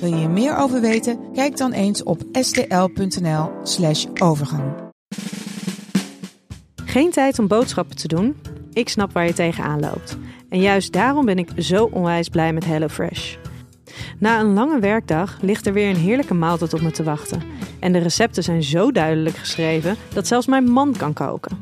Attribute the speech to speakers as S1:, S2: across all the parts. S1: Wil je hier meer over weten? Kijk dan eens op stl.nl/slash overgang.
S2: Geen tijd om boodschappen te doen? Ik snap waar je tegenaan loopt. En juist daarom ben ik zo onwijs blij met HelloFresh. Na een lange werkdag ligt er weer een heerlijke maaltijd op me te wachten. En de recepten zijn zo duidelijk geschreven dat zelfs mijn man kan koken.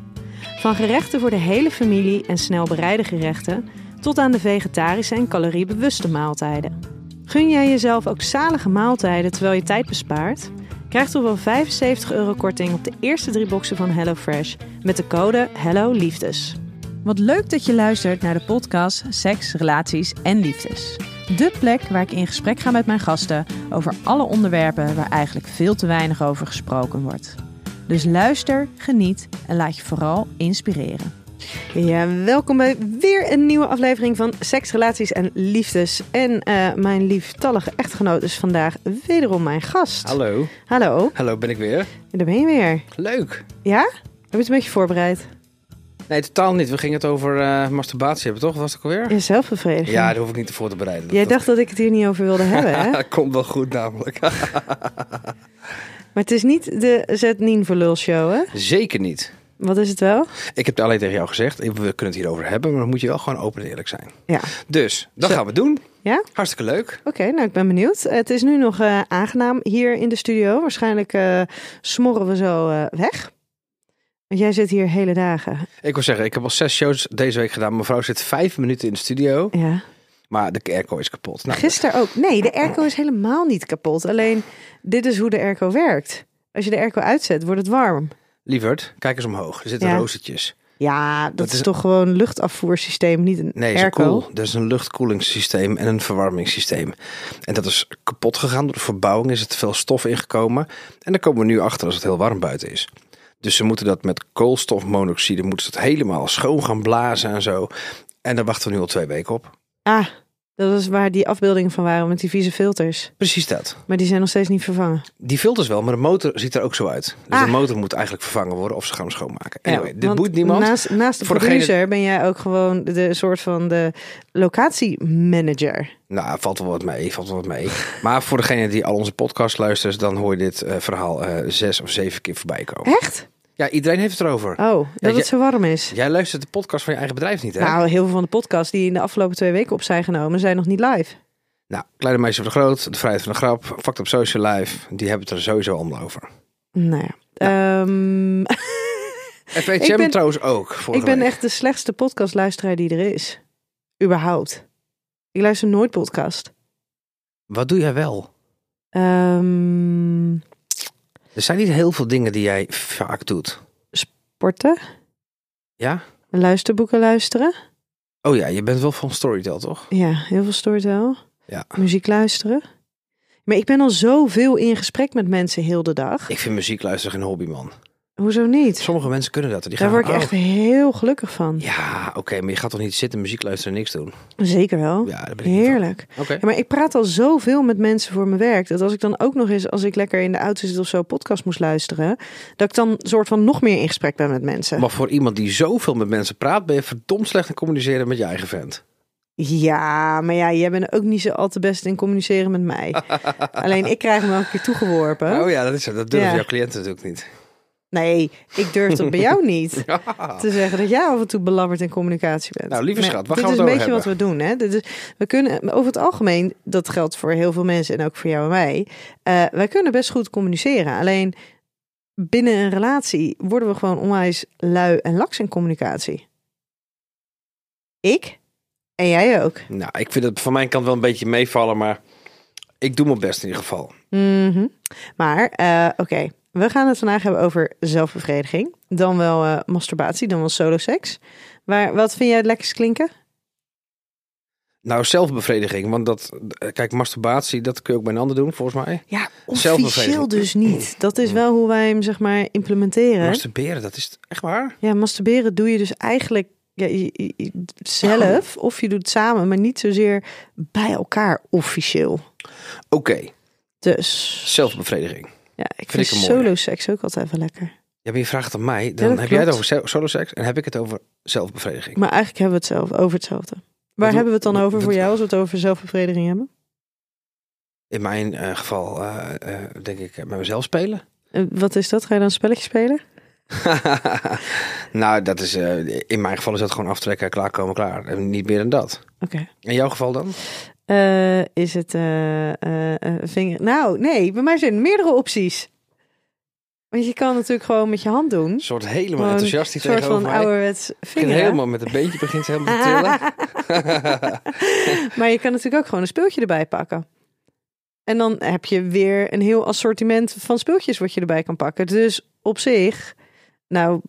S2: Van gerechten voor de hele familie en snel bereide gerechten tot aan de vegetarische en caloriebewuste maaltijden. Gun jij jezelf ook zalige maaltijden terwijl je tijd bespaart? Krijg toch wel 75 euro korting op de eerste drie boxen van HelloFresh met de code HelloLiefdes.
S3: Wat leuk dat je luistert naar de podcast Seks, Relaties en Liefdes. De plek waar ik in gesprek ga met mijn gasten over alle onderwerpen waar eigenlijk veel te weinig over gesproken wordt. Dus luister, geniet en laat je vooral inspireren.
S2: Ja, welkom bij weer een nieuwe aflevering van Seks, Relaties en Liefdes. En eh, mijn lieftallige echtgenoot is vandaag wederom mijn gast.
S4: Hallo.
S2: Hallo,
S4: Hallo, ben ik weer.
S2: daar ben je weer.
S4: Leuk.
S2: Ja? Heb je het een beetje voorbereid?
S4: Nee, totaal niet. We gingen het over eh, masturbatie hebben, toch? Was het ook alweer?
S2: Je zelfbevrediging.
S4: Ja, daar hoef ik niet voor te bereiden.
S2: Jij dacht dat ik het hier niet over wilde hebben, hè?
S4: dat komt wel goed namelijk.
S2: Maar het is niet de Zet Nien voor Lul show, hè?
S4: Zeker niet.
S2: Wat is het wel?
S4: Ik heb het alleen tegen jou gezegd. We kunnen het hierover hebben, maar dan moet je wel gewoon open en eerlijk zijn.
S2: Ja.
S4: Dus, dat gaan we doen.
S2: Ja?
S4: Hartstikke leuk.
S2: Oké, nou ik ben benieuwd. Het is nu nog eh, aangenaam hier in de studio. Waarschijnlijk eh, smorren we zo eh, weg. Want jij zit hier hele dagen.
S4: Ik wil zeggen, ik heb al zes shows deze week gedaan. Mijn vrouw zit vijf minuten in de studio,
S2: Ja.
S4: maar de airco is kapot. Nou,
S2: Gisteren ook. Nee, de airco is helemaal niet kapot. Alleen, dit is hoe de airco werkt. Als je de airco uitzet, wordt het warm.
S4: lieverd, kijk eens omhoog. Er zitten
S2: Ja.
S4: roostertjes.
S2: Ja, dat,
S4: Dat
S2: is,
S4: is-
S2: toch gewoon een luchtafvoersysteem, niet een
S4: Nee, is een
S2: airco.
S4: koel. Dat is een luchtkoelingssysteem en een verwarmingssysteem. En dat is kapot gegaan. Door de verbouwing is er te veel stof ingekomen. En daar komen we nu achter als het heel warm buiten is. Dus ze moeten dat met koolstofmonoxide moeten ze het helemaal schoon gaan blazen en zo. En daar wachten we nu al twee weken op.
S2: Ah, dat is waar die afbeeldingen van waren met die vieze filters.
S4: Precies dat.
S2: Maar die zijn nog steeds niet vervangen.
S4: Die filters wel, maar de motor ziet er ook zo uit. Dus
S2: Ah.
S4: de motor moet eigenlijk vervangen worden of ze gaan hem schoonmaken.
S2: Ja,
S4: Anyway, dit
S2: want
S4: boeit niemand.
S2: Naast, naast de
S4: Voor degene-
S2: producer ben jij ook gewoon de soort van de locatiemanager.
S4: Nou, valt wel wat mee, valt wel wat mee. Maar voor degene die al onze podcast luistert, dan hoor je dit eh, verhaal eh, zes of zeven keer voorbij komen.
S2: Echt?
S4: Ja, iedereen heeft het erover.
S2: Oh, dat
S4: Ja, jij-
S2: het zo warm is.
S4: Jij luistert de podcast van je eigen bedrijf niet, hè? Nou,
S2: Nou, heel veel van de podcasts die in de afgelopen twee weken op zijn genomen, zijn nog niet live.
S4: Nou, Kleine Meisje van de Groot, De Vrijheid van de Grap, Fact op Social Life, die hebben het er sowieso allemaal over.
S2: Nou ja. Ehm, Ik
S4: FHM
S2: ben-
S4: trouwens ook, vorige
S2: ik ben
S4: week.
S2: echt de slechtste podcastluisteraar die er is. Überhaupt. Ik luister nooit podcast.
S4: Wat doe jij wel?
S2: Ehm,
S4: Er zijn niet heel veel dingen die jij vaak doet.
S2: sporten,
S4: Ja?
S2: luisterboeken luisteren.
S4: Oh ja, je bent wel van Storytel, toch?
S2: Ja, heel veel storytel.
S4: Ja.
S2: Muziek luisteren. Maar ik ben al zoveel in gesprek met mensen heel de dag.
S4: Ik vind muziek luisteren geen hobby, man.
S2: Hoezo niet?
S4: Sommige mensen kunnen dat. Die gaan
S2: Daar word ik
S4: van,
S2: echt heel gelukkig van.
S4: oh, Ja, oké, maar je gaat toch niet zitten, muziek luisteren en niks doen?
S2: Zeker wel.
S4: Ja, dat ben ik niet van.
S2: Oh, Heerlijk.
S4: Oké.
S2: Ja, maar ik praat al zoveel met mensen voor mijn werk. Dat als ik dan ook nog eens, als ik lekker in de auto zit of zo, podcast moest luisteren. Dat ik dan soort van nog meer in gesprek ben met mensen.
S4: Maar voor iemand die zoveel met mensen praat, ben je verdomd slecht in communiceren met je eigen vent.
S2: Ja, maar ja, jij bent ook niet zo al te best in communiceren met mij. Alleen ik krijg hem elke keer toegeworpen.
S4: Oh ja, dat, is, dat durven
S2: Ja.
S4: jouw cliënten natuurlijk niet.
S2: Nee, ik durf dat bij jou niet. Te zeggen dat jij af en toe belabberd in communicatie bent.
S4: Nou, lieve
S2: Maar
S4: schat, waar
S2: dit
S4: gaan we
S2: is een
S4: het
S2: beetje
S4: over
S2: wat we doen. Hè? Dit is, we kunnen, over het algemeen, dat geldt voor heel veel mensen en ook voor jou en mij. eh, wij kunnen best goed communiceren. Alleen binnen een relatie worden we gewoon onwijs lui en laks in communicatie. Ik en jij ook.
S4: Nou, ik vind het van mijn kant wel een beetje meevallen, maar ik doe mijn best in ieder geval.
S2: Mhm. Maar eh, oké, we gaan het vandaag hebben over zelfbevrediging. Dan wel eh, masturbatie, dan wel solo seks. Maar wat vind jij het lekkerst klinken?
S4: Nou, zelfbevrediging. Want dat, eh, kijk, masturbatie, dat kun je ook bij een ander doen, volgens mij.
S2: Ja, officieel
S4: Zelfbevrediging. Mm.
S2: dus niet. Dat is wel hoe wij hem zeg maar implementeren.
S4: Masturberen, dat is echt waar.
S2: Ja, masturberen doe je dus eigenlijk ja, je- je- je- zelf
S4: Oh.
S2: of je doet het samen, maar niet zozeer bij elkaar officieel.
S4: Oké,
S2: Dus
S4: zelfbevrediging.
S2: ja, ik vind,
S4: Vind ik een mooie.
S2: solo seks ook altijd wel lekker.
S4: Ja, maar je vraagt het aan mij, dan
S2: dat
S4: heb jij het
S2: klopt.
S4: over se- solo-seks en heb ik het over zelfbevrediging.
S2: Maar eigenlijk hebben we het zelf over hetzelfde. Waar
S4: doen-
S2: hebben we het dan
S4: wat-
S2: over voor
S4: wat-
S2: jou als we het over zelfbevrediging hebben?
S4: In mijn eh, geval, eh, eh, denk ik, eh, met mezelf spelen.
S2: En Eh, wat is dat? Ga je dan een spelletje spelen?
S4: nou, dat is, eh, in mijn geval is dat gewoon aftrekken, klaarkomen, klaar. En niet meer dan dat.
S2: Oké.
S4: In jouw geval dan?
S2: Eh, is het eh, eh, eh, vinger? Nou, nee, bij mij zijn er meerdere opties. Want je kan natuurlijk gewoon met je hand doen.
S4: Een soort helemaal
S2: Gewoon
S4: enthousiast
S2: Een
S4: die
S2: soort
S4: tegenover
S2: van
S4: mij.
S2: ouderwets
S4: Begint
S2: vinger.
S4: helemaal met een beentje, begint helemaal te tillen.
S2: maar je kan natuurlijk ook gewoon een speeltje erbij pakken. En dan heb je weer een heel assortiment van speeltjes wat je erbij kan pakken. Dus op zich, nou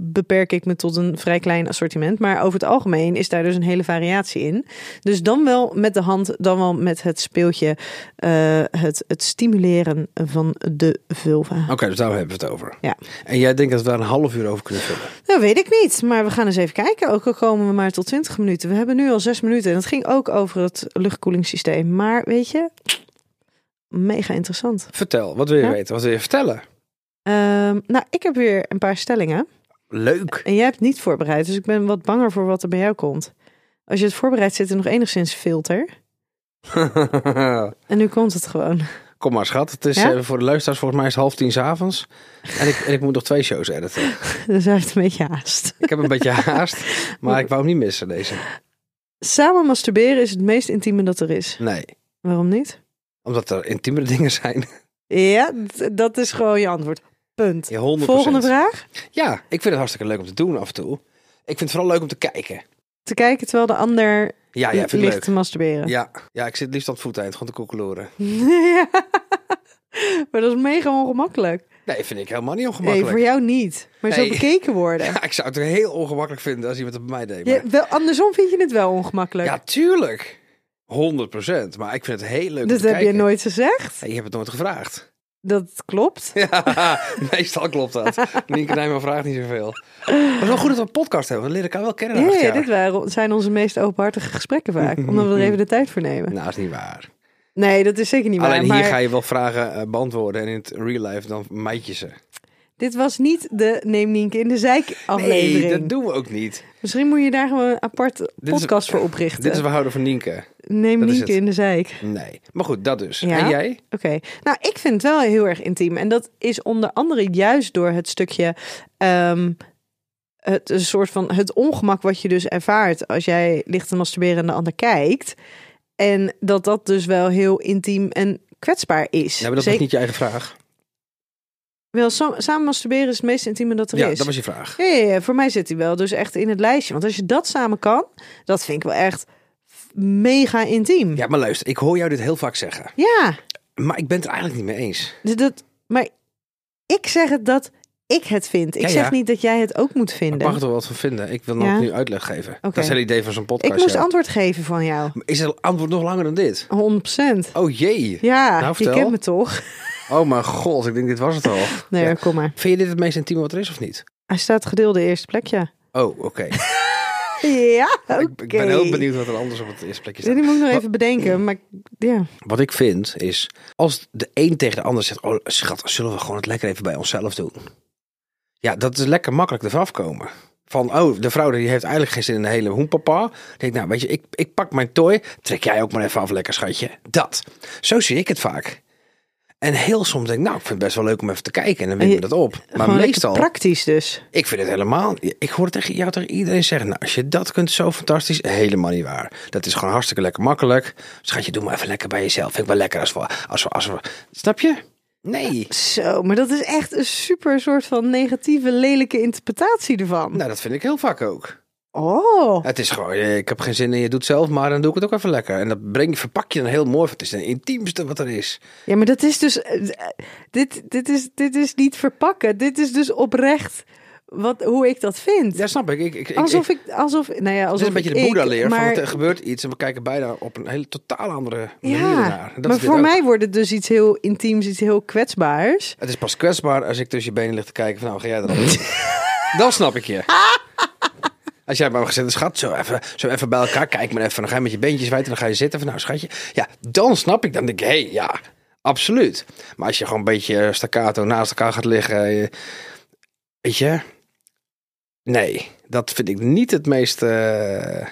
S2: beperk ik me tot een vrij klein assortiment. Maar over het algemeen is daar dus een hele variatie in. Dus dan wel met de hand, dan wel met het speeltje. eh, het, het stimuleren van de vulva.
S4: Oké, dus daar hebben we het over.
S2: Ja.
S4: En jij denkt dat we daar een half uur over kunnen vullen.
S2: Dat weet ik niet, maar we gaan eens even kijken. Ook al komen we maar tot 20 minuten. We hebben nu al 6 minuten en het ging ook over het luchtkoelingssysteem. Maar weet je, mega interessant.
S4: Vertel, wat wil je
S2: Ja?
S4: weten? Wat wil je vertellen?
S2: Ehm, nou, ik heb weer een paar stellingen.
S4: Leuk.
S2: En jij hebt het niet voorbereid, dus ik ben wat banger voor wat er bij jou komt. Als je het voorbereidt, zit er nog enigszins filter. En nu komt het gewoon.
S4: Kom maar, schat. Het is
S2: Ja?
S4: eh, voor de luisteraars volgens mij is het half tien 's avonds. En ik, en ik moet nog twee shows editen.
S2: Dus hij heeft een beetje haast.
S4: Ik heb een beetje haast, maar ik wou hem niet missen deze.
S2: Samen masturberen is het meest intieme dat er is.
S4: Nee,
S2: Waarom niet?
S4: omdat er intiemere dingen zijn.
S2: Ja, d- dat is gewoon je antwoord. Punt.
S4: Ja, 100%.
S2: Volgende vraag.
S4: Ja, ik vind het hartstikke leuk om te doen af en toe. Ik vind het vooral leuk om te kijken.
S2: te kijken terwijl de ander
S4: Ja, ja, vind ik
S2: ligt
S4: leuk.
S2: te masturberen.
S4: Ja, ja, ik zit liefst aan het voeteind, gewoon te koekeloeren.
S2: Ja. maar dat is mega ongemakkelijk.
S4: Nee, vind ik helemaal niet
S2: Nee,
S4: ongemakkelijk.
S2: voor jou niet. Maar
S4: Nee.
S2: zo bekeken worden.
S4: Ja, ik zou het heel ongemakkelijk vinden als iemand het bij mij deed.
S2: Je,
S4: maar-
S2: wel, andersom vind je het wel ongemakkelijk.
S4: Ja, tuurlijk. 100%. Maar ik vind het heel leuk
S2: dat
S4: om te
S2: Dus heb
S4: kijken.
S2: je nooit gezegd.
S4: Ja, je hebt het nooit gevraagd.
S2: Dat klopt.
S4: Ja, meestal klopt dat. Nienke Nijman vraagt niet zoveel. Maar het is wel goed dat we een podcast hebben. We leren elkaar wel kennen.
S2: Ja,
S4: na acht
S2: ja,
S4: jaar.
S2: dit waren, zijn onze meest openhartige gesprekken vaak. omdat we er even de tijd voor nemen.
S4: Nou, is niet waar.
S2: Nee, dat is zeker niet waar.
S4: Alleen hier
S2: maar
S4: ga je wel vragen eh, beantwoorden. En in het real life dan mijt je ze.
S2: Dit was niet de Neem Nienke in de Zijk aflevering.
S4: Nee, dat doen we ook niet.
S2: Misschien moet je daar gewoon een apart
S4: is-
S2: podcast voor oprichten.
S4: Dit is we houden van Nienke.
S2: Neem
S4: dat is
S2: Nienke
S4: het.
S2: in de Zijk.
S4: Nee. Maar goed, dat dus.
S2: Ja?
S4: En jij?
S2: Oké, nou ik vind het wel heel erg intiem. En dat is onder andere juist door het stukje. ehm, het een soort van het ongemak wat je dus ervaart als jij ligt te masturberen en de ander kijkt. En dat dat dus wel heel intiem en kwetsbaar is.
S4: Ja, maar dat was
S2: Zeker-
S4: niet je eigen vraag.
S2: wel, sa- samen masturberen is het meest intieme dat er
S4: ja,
S2: is.
S4: dat was je vraag.
S2: Ja, ja, ja, voor mij zit hij wel dus echt in het lijstje. Want als je dat samen kan, dat vind ik wel echt f- mega intiem.
S4: Ja, maar luister. Ik hoor jou dit heel vaak zeggen.
S2: ja.
S4: Maar ik ben het er eigenlijk niet mee eens.
S2: Dus dat, maar ik zeg het dat ik het vind. Ik
S4: Ja,
S2: zeg
S4: ja.
S2: niet dat jij het ook moet
S4: Ik
S2: vinden.
S4: mag er wel wat van vinden. Ik wil nog
S2: Ja?
S4: nu uitleg geven. Dat
S2: Oké.
S4: is het hele idee van zo'n
S2: ik
S4: podcast.
S2: moest
S4: ja.
S2: antwoord geven van jou.
S4: Maar Is het antwoord nog langer dan dit?
S2: 100%.
S4: Oh jee.
S2: Ja,
S4: Nou,
S2: je
S4: vertel.
S2: kent me toch?
S4: Oh mijn god, ik denk dit was het al.
S2: Nee,
S4: Ja.
S2: kom maar.
S4: Vind je dit het meest intieme wat er is of niet?
S2: Hij staat gedeelde eerste plekje.
S4: Oh, oké.
S2: Ja, oké.
S4: Ik, ik ben heel benieuwd wat er anders op het eerste plekje
S2: Ja,
S4: staat.
S2: Die moet ik nog even bedenken. Maar ja,
S4: Wat ik vind is, als de een tegen de ander zegt... Oh schat, zullen we gewoon het lekker even bij onszelf doen? Ja, dat is lekker makkelijk ervan afkomen. Van, oh, de vrouw die heeft eigenlijk geen zin in de hele hoenpapa. Dan denk ik, nou weet je, ik, ik pak mijn tooi. Trek jij ook maar even af, lekker schatje. Dat. Zo zie ik het vaak. En heel soms denk ik, nou, ik vind het best wel leuk om even te kijken. En
S2: En
S4: dan win
S2: je-
S4: we dat op. Maar
S2: gewoon lekker
S4: meestal...
S2: praktisch dus.
S4: Ik vind het helemaal. Ik hoor tegen jou tegen iedereen zeggen. Nou, als je dat kunt, zo fantastisch. Helemaal niet waar. Dat is gewoon hartstikke lekker makkelijk. Schatje, doe maar even lekker bij jezelf. Vind ik wel lekker als we. Als we, als we snap je? Nee.
S2: Zo, maar dat is echt een super soort van negatieve, lelijke interpretatie ervan.
S4: Nou, dat vind ik heel vaak ook.
S2: Oh,
S4: Het is gewoon, eh, ik heb geen zin in, je doet zelf, maar dan doe ik het ook even lekker. En dat breng, verpak je dan heel mooi. want Het is het intiemste wat er is.
S2: ja, maar dat is dus. eh, eh, Dit, dit, is, dit is niet verpakken. Dit is dus oprecht wat, hoe ik dat vind.
S4: Ja, snap ik. ik, ik, ik-
S2: alsof ik, alsof, nou ja,
S4: Het
S2: alsof
S4: is een beetje de
S2: ik-
S4: Boeddha-leer van
S2: maar-
S4: het, er gebeurt iets en we kijken bijna op een hele totaal andere manier
S2: Ja,
S4: naar. Dat
S2: maar
S4: is dit
S2: voor
S4: ook.
S2: mij wordt het dus iets heel intiems, iets heel kwetsbaars.
S4: Het is pas kwetsbaar als ik tussen je benen lig te kijken van nou, ga jij er al in? Dan snap ik je. Als jij bij me gezet hebt, schat, zo even, zo even bij elkaar, kijk maar even. Dan ga je met je beentjes wijd en dan ga je zitten van nou, schatje. Ja, dan snap ik. Dan denk ik, hé, hey, ja, absoluut. Maar als je gewoon een beetje eh, staccato naast elkaar gaat liggen, eh, weet je. Nee, dat vind ik niet het meest... eh,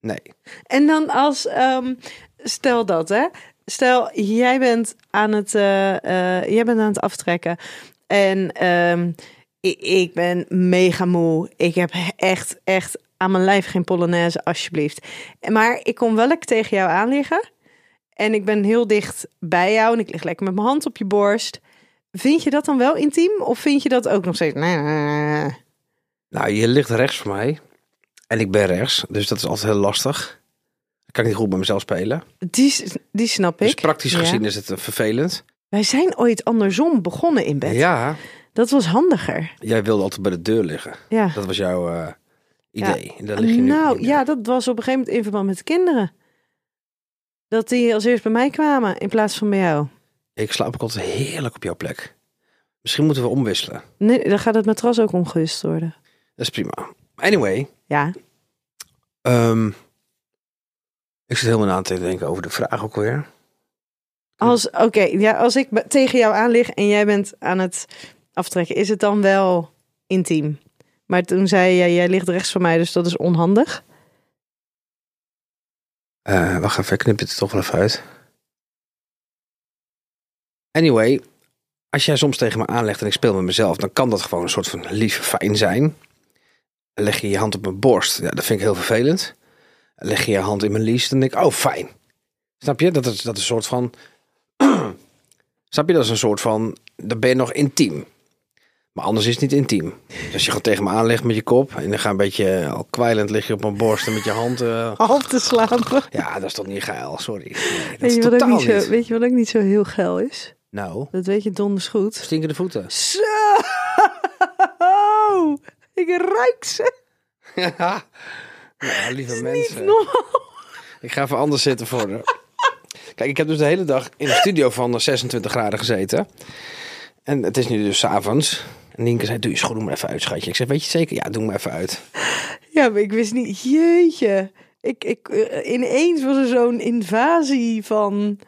S4: nee.
S2: En dan als, ehm, stel dat hè, stel jij bent aan het, eh, eh, jij bent aan het aftrekken en ehm, i- ik, ben mega moe. Ik heb echt, echt aan mijn lijf geen polonaise, alsjeblieft. Maar ik kom wel tegen jou aan liggen en ik ben heel dicht bij jou en ik lig lekker met mijn hand op je borst. Vind je dat dan wel intiem of vind je dat ook nog steeds? Nee, nee, nee, nee.
S4: Nou, je ligt rechts van mij. En ik ben rechts. Dus dat is altijd heel lastig. Ik kan niet goed bij mezelf spelen.
S2: Die, s- die snap ik.
S4: Dus praktisch
S2: Ja.
S4: gezien is het eh, vervelend.
S2: Wij zijn ooit andersom begonnen in bed.
S4: Ja,
S2: Dat was handiger.
S4: jij wilde altijd bij de deur liggen.
S2: Ja.
S4: Dat was jouw eh,
S2: Ja.
S4: idee. En daar lig je nu
S2: nou
S4: niet
S2: ja,
S4: meer.
S2: dat was op een gegeven moment in verband met de kinderen. Dat die als eerst bij mij kwamen in plaats van bij jou.
S4: eh. Ik slaap ook altijd heerlijk op jouw plek. Misschien moeten we omwisselen.
S2: Nee, dan gaat het matras ook omgewist worden.
S4: Dat is prima. Anyway,
S2: Ja.
S4: ehm, ik zit helemaal na te denken over de vraag ook weer.
S2: Als, oké, ja, als ik be- tegen jou aan lig en jij bent aan het aftrekken, is het dan wel intiem? Maar toen zei jij, jij ligt rechts van mij, dus dat is onhandig.
S4: Eh, wacht even, ik knip dit er toch wel even uit. Anyway, als jij soms tegen me aanlegt en ik speel met mezelf, dan kan dat gewoon een soort van lief fijn zijn. Dan leg je je hand op mijn borst, ja, dat vind ik heel vervelend. Dan leg je je hand in mijn lies, dan denk ik, oh fijn. Snap je? Dat is, dat is een soort van. Snap je? Dat is een soort van. Dan ben je nog intiem. Maar anders is het niet intiem. Dus als je gewoon tegen me aanlegt met je kop en dan ga je een beetje eh, al kwijlend lig je op mijn borst en met je hand. eh,
S2: Half te slapen.
S4: ja, dat is toch niet geil, sorry. Nee, dat
S2: Weet
S4: is
S2: je, wat ook
S4: totaal
S2: niet
S4: niet.
S2: zo, weet je wat ook niet zo heel geil is?
S4: Nou,
S2: Dat weet je donders goed.
S4: stinkende voeten.
S2: Zo! Ik ruik ze.
S4: nou, lieve mensen.
S2: Normaal.
S4: Ik ga even anders zitten voor de... Kijk, ik heb dus de hele dag in een studio van eh, 26 graden gezeten. En het is nu dus 's avonds. En Nienke zei, doe je schoenen maar even uit, schatje. Ik zei, weet je het zeker? Ja, doe maar even uit.
S2: Ja, maar ik wist niet. Jeetje. Ik, ik, eh, ineens was er zo'n invasie van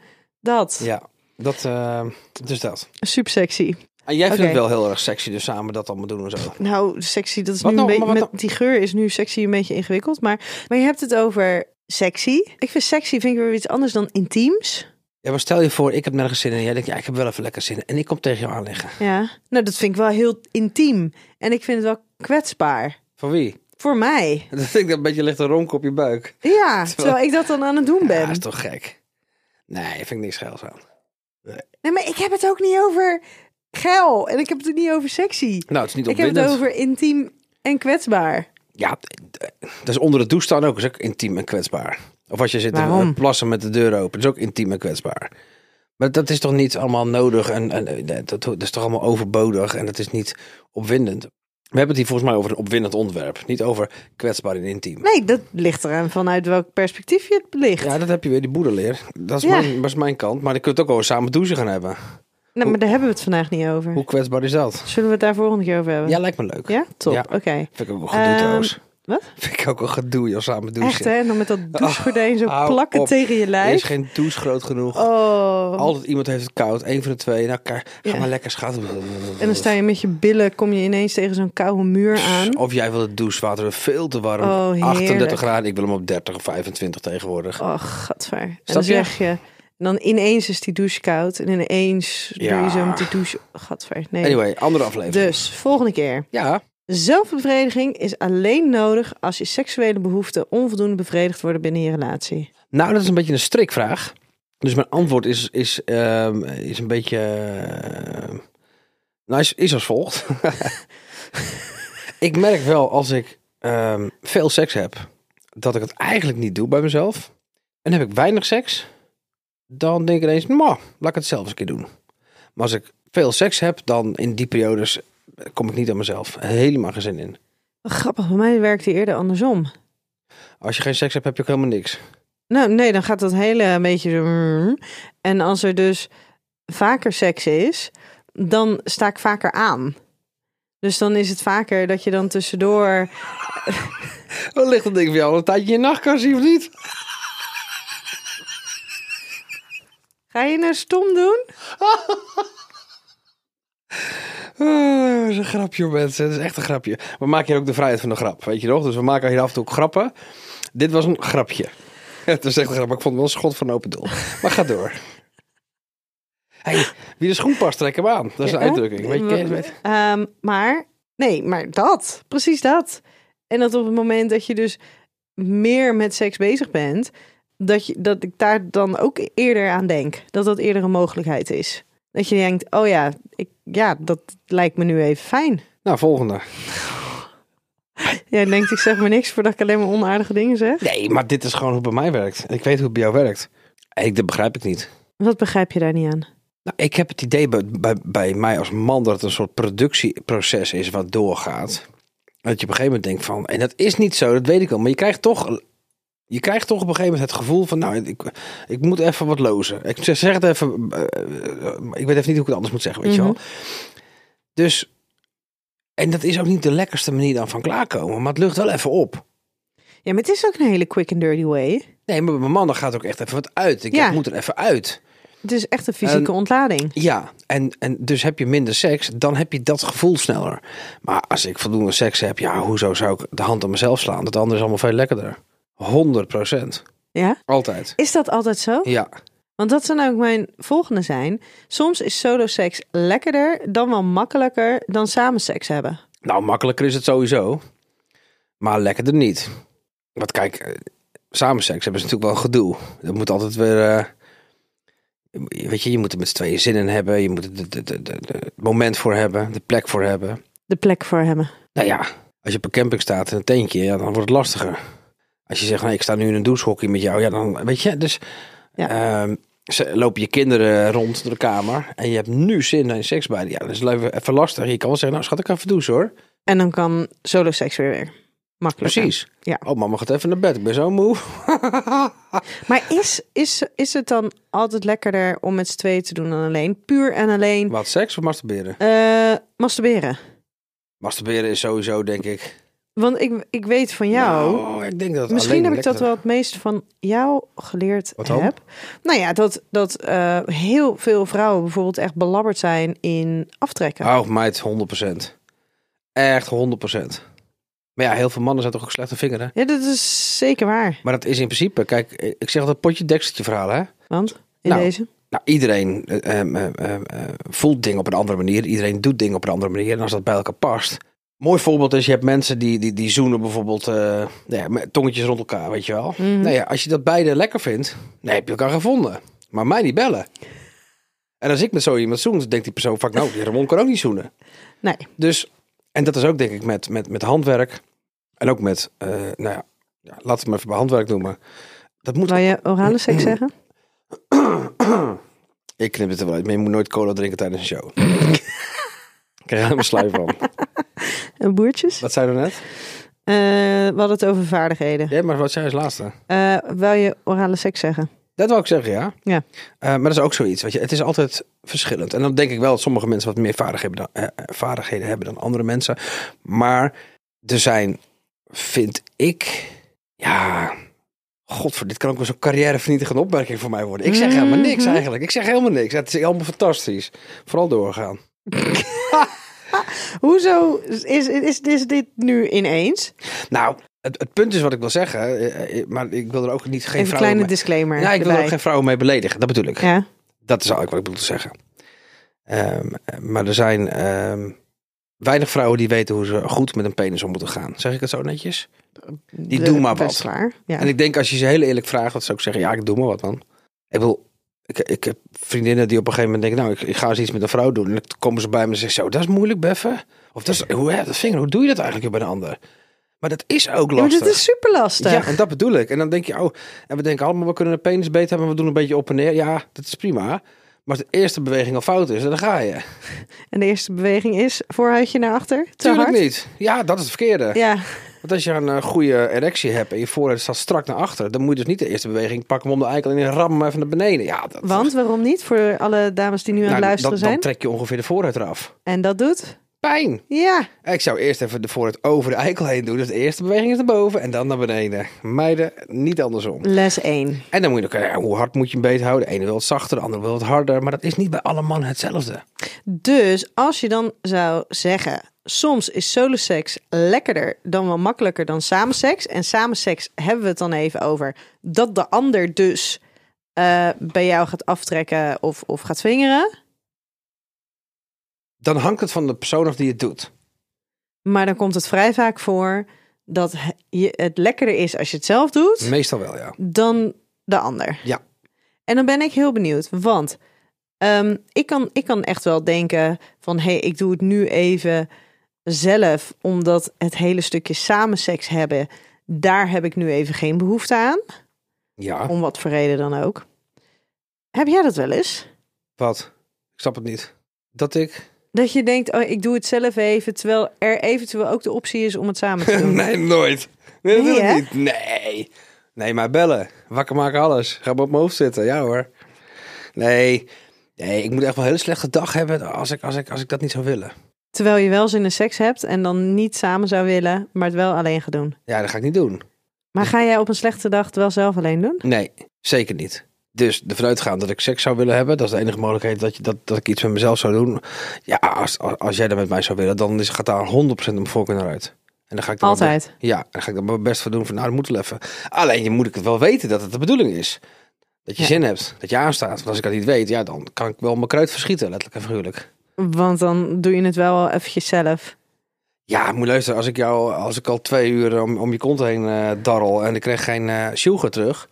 S2: dat.
S4: Ja, dat... eh, dus dat.
S2: Subsexy.
S4: En jij vindt
S2: Oké.
S4: het wel heel erg sexy, dus samen dat allemaal doen en zo.
S2: Nou, sexy, dat is
S4: Wat
S2: nu
S4: nou,
S2: een beetje.
S4: maar wat
S2: Met die geur is nu sexy een beetje ingewikkeld. Maar, maar je hebt het over sexy. Ik vind sexy vind ik weer iets anders dan intiems.
S4: Ja, maar stel je voor, ik heb nergens zin in. En jij denkt, ja, ik heb wel even lekker zin in. En ik kom tegen jou aanleggen.
S2: Ja. Nou, dat vind ik wel heel intiem. En ik vind het wel kwetsbaar.
S4: Van wie?
S2: Voor mij.
S4: Dat ik dat een beetje ligt te ronken op je buik.
S2: Ja, terwijl ik dat dan aan het doen ben.
S4: Ja, is toch gek? Nee, vind ik niks geils aan.
S2: Nee, maar ik heb het ook niet over geil. En ik heb het niet over sexy.
S4: Nou, het is niet
S2: Ik heb
S4: opwindend.
S2: het over intiem en kwetsbaar.
S4: Ja, d- d- dat is onder de douche staan ook. is ook intiem en kwetsbaar. Of als je zit
S2: Waarom?
S4: te plassen met de deur open. is ook intiem en kwetsbaar. Maar dat is toch niet allemaal nodig. En, en eh, dat, dat- dat is toch allemaal overbodig. En dat is niet opwindend. We hebben het hier volgens mij over een opwindend onderwerp. Niet over kwetsbaar en intiem.
S2: Nee, dat ligt eraan vanuit welk perspectief je het belicht. Nou,
S4: Ja, dat heb je weer, die boerenleer. Dat is,
S2: Ja.
S4: mijn, dat is mijn kant. Maar dan kun je het ook over samen douchen gaan hebben.
S2: nou, maar daar hebben we het vandaag niet over.
S4: Hoe kwetsbaar is dat?
S2: Zullen we het daar volgende keer over hebben?
S4: Ja, lijkt me leuk.
S2: Ja? Top,
S4: Ja.
S2: oké.
S4: Vind ik ook wel gedoe
S2: Ehm,
S4: trouwens.
S2: wat?
S4: Vind ik ook wel gedoe, joh, samen douchen.
S2: Echt hè? En dan met dat douchegordijn zo
S4: Ah, hou
S2: plakken
S4: op.
S2: tegen je
S4: Er is
S2: lijf.
S4: geen douche groot genoeg.
S2: Oh.
S4: Altijd iemand heeft het koud. Eén van de twee. Nou, ka- ga
S2: Ja.
S4: maar lekker schatten.
S2: En dan sta je met je billen, kom je ineens tegen zo'n koude muur aan.
S4: Of jij wil het douchewater veel te warm.
S2: Oh, heerlijk.
S4: 38 graden. Ik wil hem op 30 of 25 tegenwoordig.
S2: Oh, gadver. En
S4: Snap
S2: dan
S4: je?
S2: zeg je... En dan ineens is die douche koud. En ineens doe
S4: Ja.
S2: je zo met die douche... Gadver, nee.
S4: Anyway, andere aflevering.
S2: Dus, volgende keer.
S4: Ja,
S2: Zelfbevrediging is alleen nodig als je seksuele behoeften onvoldoende bevredigd worden binnen je relatie.
S4: nou, dat is een beetje een strikvraag. Dus mijn antwoord is, is, ehm, is een beetje... ehm, nou, is, is als volgt. ik merk wel als ik ehm, veel seks heb, dat ik het eigenlijk niet doe bij mezelf. En heb ik weinig seks, dan denk ik ineens, "Mwah, laat ik het zelf eens een keer doen. Maar als ik veel seks heb, dan in die periodes eh, eh, kom ik niet aan mezelf. Helemaal geen zin in.
S2: Grappig, bij mij werkt die eerder andersom.
S4: Als je geen seks hebt, heb je ook helemaal niks.
S2: Nou, nee, dan gaat dat hele een beetje zo. mm. En als er dus vaker seks is, dan sta ik vaker aan. Dus dan is het vaker dat je dan tussendoor.
S4: Wat ligt dat ding van jou al een tijdje in je nachtkastje of niet?
S2: Ga je nou stom doen?
S4: Ah, dat is een grapje, hoor, mensen. Dat is echt een grapje. We maken hier ook de vrijheid van de grap, weet je toch? Dus we maken hier af en toe ook grappen. Dit was een grapje. Het is echt een grap, maar ik vond het wel een schot van open doel. Maar ga door. Hey, wie de schoen past, trek hem aan. Dat is een
S2: Ja.
S4: uitdrukking. Weet je, ken je dat?
S2: Ehm, maar nee, maar dat, precies dat. En dat op het moment dat je dus meer met seks bezig bent, dat, je, dat ik daar dan ook eerder aan denk. Dat dat eerder een mogelijkheid is. Dat je denkt, oh ja, ik, ja, dat lijkt me nu even fijn.
S4: Nou, volgende.
S2: Jij denkt, ik zeg maar niks voordat ik alleen maar onaardige dingen zeg.
S4: Nee, maar dit is gewoon hoe het bij mij werkt. Ik weet hoe het bij jou werkt. Ik, dat begrijp ik niet.
S2: Wat begrijp je daar niet aan?
S4: Nou, ik heb het idee bij, bij, bij mij als man dat het een soort productieproces is wat doorgaat. Dat je op een gegeven moment denkt van, en dat is niet zo, dat weet ik wel. Maar je krijgt toch, je krijgt toch op een gegeven moment het gevoel van, nou, ik, ik moet even wat lozen. Ik zeg zeg het even, eh, eh, ik weet even niet hoe ik het anders moet zeggen, weet je
S2: Mhm.
S4: wel. Dus, en dat is ook niet de lekkerste manier dan van klaarkomen, maar het lucht wel even op.
S2: Ja, maar het is ook een hele quick and dirty way.
S4: Nee, maar bij mijn man dan gaat ook echt even wat uit. Ik
S2: Ja.
S4: moet er even uit.
S2: Het is echt een fysieke ontlading.
S4: Ja, en, en dus heb je minder seks, dan heb je dat gevoel sneller. Maar als ik voldoende seks heb, ja, hoezo zou ik de hand aan mezelf slaan? Dat andere is allemaal veel lekkerder. 100 procent.
S2: Ja?
S4: Altijd.
S2: Is dat altijd zo?
S4: Ja.
S2: Want dat zou ook mijn volgende zijn. Soms is solo seks lekkerder dan wel makkelijker dan samen seks hebben.
S4: Nou, makkelijker is het sowieso. Maar lekkerder niet. Want kijk, eh, samen seks hebben ze natuurlijk wel gedoe. Dat moet altijd weer... eh, weet je, je moet er met z'n tweeën zin in hebben. Je moet er de- de- de- de- de- het moment voor hebben. De plek voor hebben.
S2: De plek voor hebben.
S4: Nou ja, als je op een camping staat in een tentje, ja, dan wordt het lastiger. Als je zegt, nou, ik sta nu in een douchehokje met jou, ja, dan weet je, dus
S2: Ja.
S4: ehm, ze, lopen je kinderen rond door de kamer en je hebt nu zin in seks bij. Ja, dat is even even lastig. Je kan wel zeggen, nou, schat, ik ga even douchen hoor.
S2: En dan kan solo seks weer weer. Makkelijker.
S4: Precies.
S2: Ja.
S4: Oh, mama gaat even naar bed. Ik ben zo moe.
S2: Maar is, is, is het dan altijd lekkerder om met z'n tweeën te doen dan alleen? Puur en alleen
S4: Wat, seks of masturberen?
S2: eh, masturberen.
S4: Masturberen is sowieso, denk ik.
S2: Want ik, ik weet van jou.
S4: Nou, ik denk dat het
S2: Misschien
S4: alleen
S2: heb ik dat
S4: lekkerder-
S2: wel het meeste van jou geleerd
S4: Wat dan?
S2: heb. Nou ja, dat, dat eh, heel veel vrouwen bijvoorbeeld echt belabberd zijn in aftrekken.
S4: Oh, meid, 100%. Echt 100%. Maar ja, heel veel mannen zijn toch ook slechte vinger, hè?
S2: Ja, dat is zeker waar.
S4: Maar dat is in principe, kijk, ik zeg dat potje dekseltje verhaal, hè?
S2: Want in
S4: Nou.
S2: deze.
S4: Nou, iedereen eh, ehm, eh, eh, eh, voelt dingen op een andere manier. Iedereen doet dingen op een andere manier. En als dat bij elkaar past. Mooi voorbeeld is, je hebt mensen die, die, die zoenen bijvoorbeeld eh, nou ja, met tongetjes rond elkaar, weet je wel. Nou ja, als je dat beide lekker vindt, dan heb je elkaar gevonden. Maar mij niet bellen. En als ik met zo iemand zoen, dan denkt die persoon vaak, nou, die Ramon kan ook niet zoenen.
S2: Nee.
S4: Dus, en dat is ook denk ik met, met, met handwerk. En ook met, eh, nou ja, ja, laten we het maar even bij handwerk noemen. Dat moet
S2: Wou je orale seks zeggen?
S4: Ik knip het er wel uit, maar je moet nooit cola drinken tijdens een show. Ik krijg er helemaal slui van.
S2: En boertjes?
S4: Wat zei je net?
S2: Eh, we hadden het over vaardigheden.
S4: Ja, maar wat zei je als laatste?
S2: Eh wou je orale seks zeggen?
S4: Dat wil ik zeggen, ja.
S2: Ja.
S4: Eh, maar dat is ook zoiets, weet je. Het is altijd verschillend. En dan denk ik wel dat sommige mensen wat meer vaardigheden hebben dan, eh, eh, vaardigheden hebben dan andere mensen. Maar er zijn, vind ik, ja... Godver, dit kan ook wel zo'n carrièrevernietigende opmerking voor mij worden. Ik zeg helemaal niks
S2: Mhm.
S4: eigenlijk. Ik zeg helemaal niks. Het is allemaal fantastisch. Vooral doorgaan.
S2: Hoezo is, is, is, is dit nu ineens?
S4: Nou, het, het punt is wat ik wil zeggen, eh, eh, maar ik wil er ook niet
S2: Even
S4: geen
S2: een
S4: vrouwen
S2: kleine
S4: mee-
S2: disclaimer.
S4: Ja, ik wil er
S2: erbij.
S4: ook geen vrouwen mee beledigen. Dat bedoel ik.
S2: Ja.
S4: Dat is eigenlijk wat ik bedoel te zeggen. Ehm, eh, maar er zijn ehm, weinig vrouwen die weten hoe ze goed met een penis om moeten gaan. Zeg ik het zo netjes? Die
S2: De-
S4: doen maar
S2: best
S4: wat.
S2: Klaar. Ja.
S4: En ik denk als je ze heel eerlijk vraagt, dat ze ook zeggen, ja, ik doe maar wat man. Ik wil, ik, ik heb vriendinnen die op een gegeven moment denken, nou, ik, ik ga eens iets met een vrouw doen. En dan komen ze bij me en zeggen, zo, dat is moeilijk, beffen. Of dat is, hoe, hè, dat vinger, hoe doe je dat eigenlijk joh, bij een ander? Maar dat is ook
S2: Ja, maar
S4: lastig.
S2: dit is super lastig.
S4: Ja, en dat bedoel ik. En dan denk je, oh, en we denken allemaal, we kunnen een penis beter hebben, we doen een beetje op en neer. Ja, dat is prima. Maar als de eerste beweging al fout is, dan ga je.
S2: En de eerste beweging is vooruitje naar achter. Te
S4: Tuurlijk
S2: hard.
S4: niet. Ja, dat is het verkeerde.
S2: Ja,
S4: Want als je een eh, goede erectie hebt en je voorhoofd staat strak naar achter, dan moet je dus niet de eerste beweging pakken om de eikel in een ram even naar beneden. Ja, dat,
S2: want waarom niet? Voor alle dames die nu aan
S4: Nou,
S2: het luisteren
S4: dat,
S2: zijn.
S4: Dan trek je ongeveer de vooruit eraf.
S2: En dat doet?
S4: Pijn.
S2: Ja.
S4: Ik zou eerst even de vooruit over de eikel heen doen. Dus de eerste beweging is naar boven en dan naar beneden. Meiden, niet andersom.
S2: Les 1.
S4: En dan moet je ook, eh, hoe hard moet je hem beet houden? De ene wil het zachter, de andere wil het harder. Maar dat is niet bij alle mannen hetzelfde.
S2: Dus als je dan zou zeggen, soms is soloseks lekkerder dan wel makkelijker dan samenseks. En samenseks hebben we het dan even over dat de ander dus eh, bij jou gaat aftrekken of, of gaat vingeren.
S4: Dan hangt het van de persoon af die het doet.
S2: Maar dan komt het vrij vaak voor dat he- je, het lekkerder is als je het zelf doet
S4: Meestal wel, ja.
S2: dan de ander.
S4: Ja.
S2: En dan ben ik heel benieuwd, want ehm, ik, kan, ik kan echt wel denken van... hé, hey, ik doe het nu even zelf, omdat het hele stukje samen seks hebben... daar heb ik nu even geen behoefte aan,
S4: Ja,
S2: om wat voor reden dan ook. Heb jij dat wel eens?
S4: wat? Ik snap het niet. Dat ik...
S2: Dat je denkt, oh, ik doe het zelf even... terwijl er eventueel ook de optie is om het samen te doen.
S4: nee, nooit. Nee,
S2: Nee,
S4: natuurlijk
S2: hè?
S4: niet. Nee. Nee, maar bellen. Wakker maken alles. Ga maar op mijn hoofd zitten. Ja hoor. Nee. Nee, ik moet echt wel een hele slechte dag hebben als ik, als ik, als ik dat niet zou willen.
S2: Terwijl je wel zin in seks hebt en dan niet samen zou willen... maar het wel alleen gaat doen.
S4: Ja, dat ga ik niet doen.
S2: Maar ga jij op een slechte dag het wel zelf alleen doen?
S4: Nee, zeker niet. Dus ervan uitgaan dat ik seks zou willen hebben, dat is de enige mogelijkheid dat, je, dat, dat ik iets met mezelf zou doen. Ja, als, als, als jij dat met mij zou willen, dan is, gaat daar 100% om voorkeur naar uit. En dan ga ik dan
S2: Altijd.
S4: Ja, en dan ga ik er mijn best voor doen van nou, dat moet wel even. Alleen je moet ik het wel weten dat het de bedoeling is. Dat je
S2: Ja.
S4: zin hebt, dat je aanstaat. Want als ik dat niet weet, ja, dan kan ik wel mijn kruid verschieten, letterlijk en figuurlijk.
S2: Want dan doe je het wel al eventjes zelf.
S4: Ja, moet luisteren, als ik jou, als ik al twee uur om, om je kont heen eh darrel en ik krijg geen eh sjoegen terug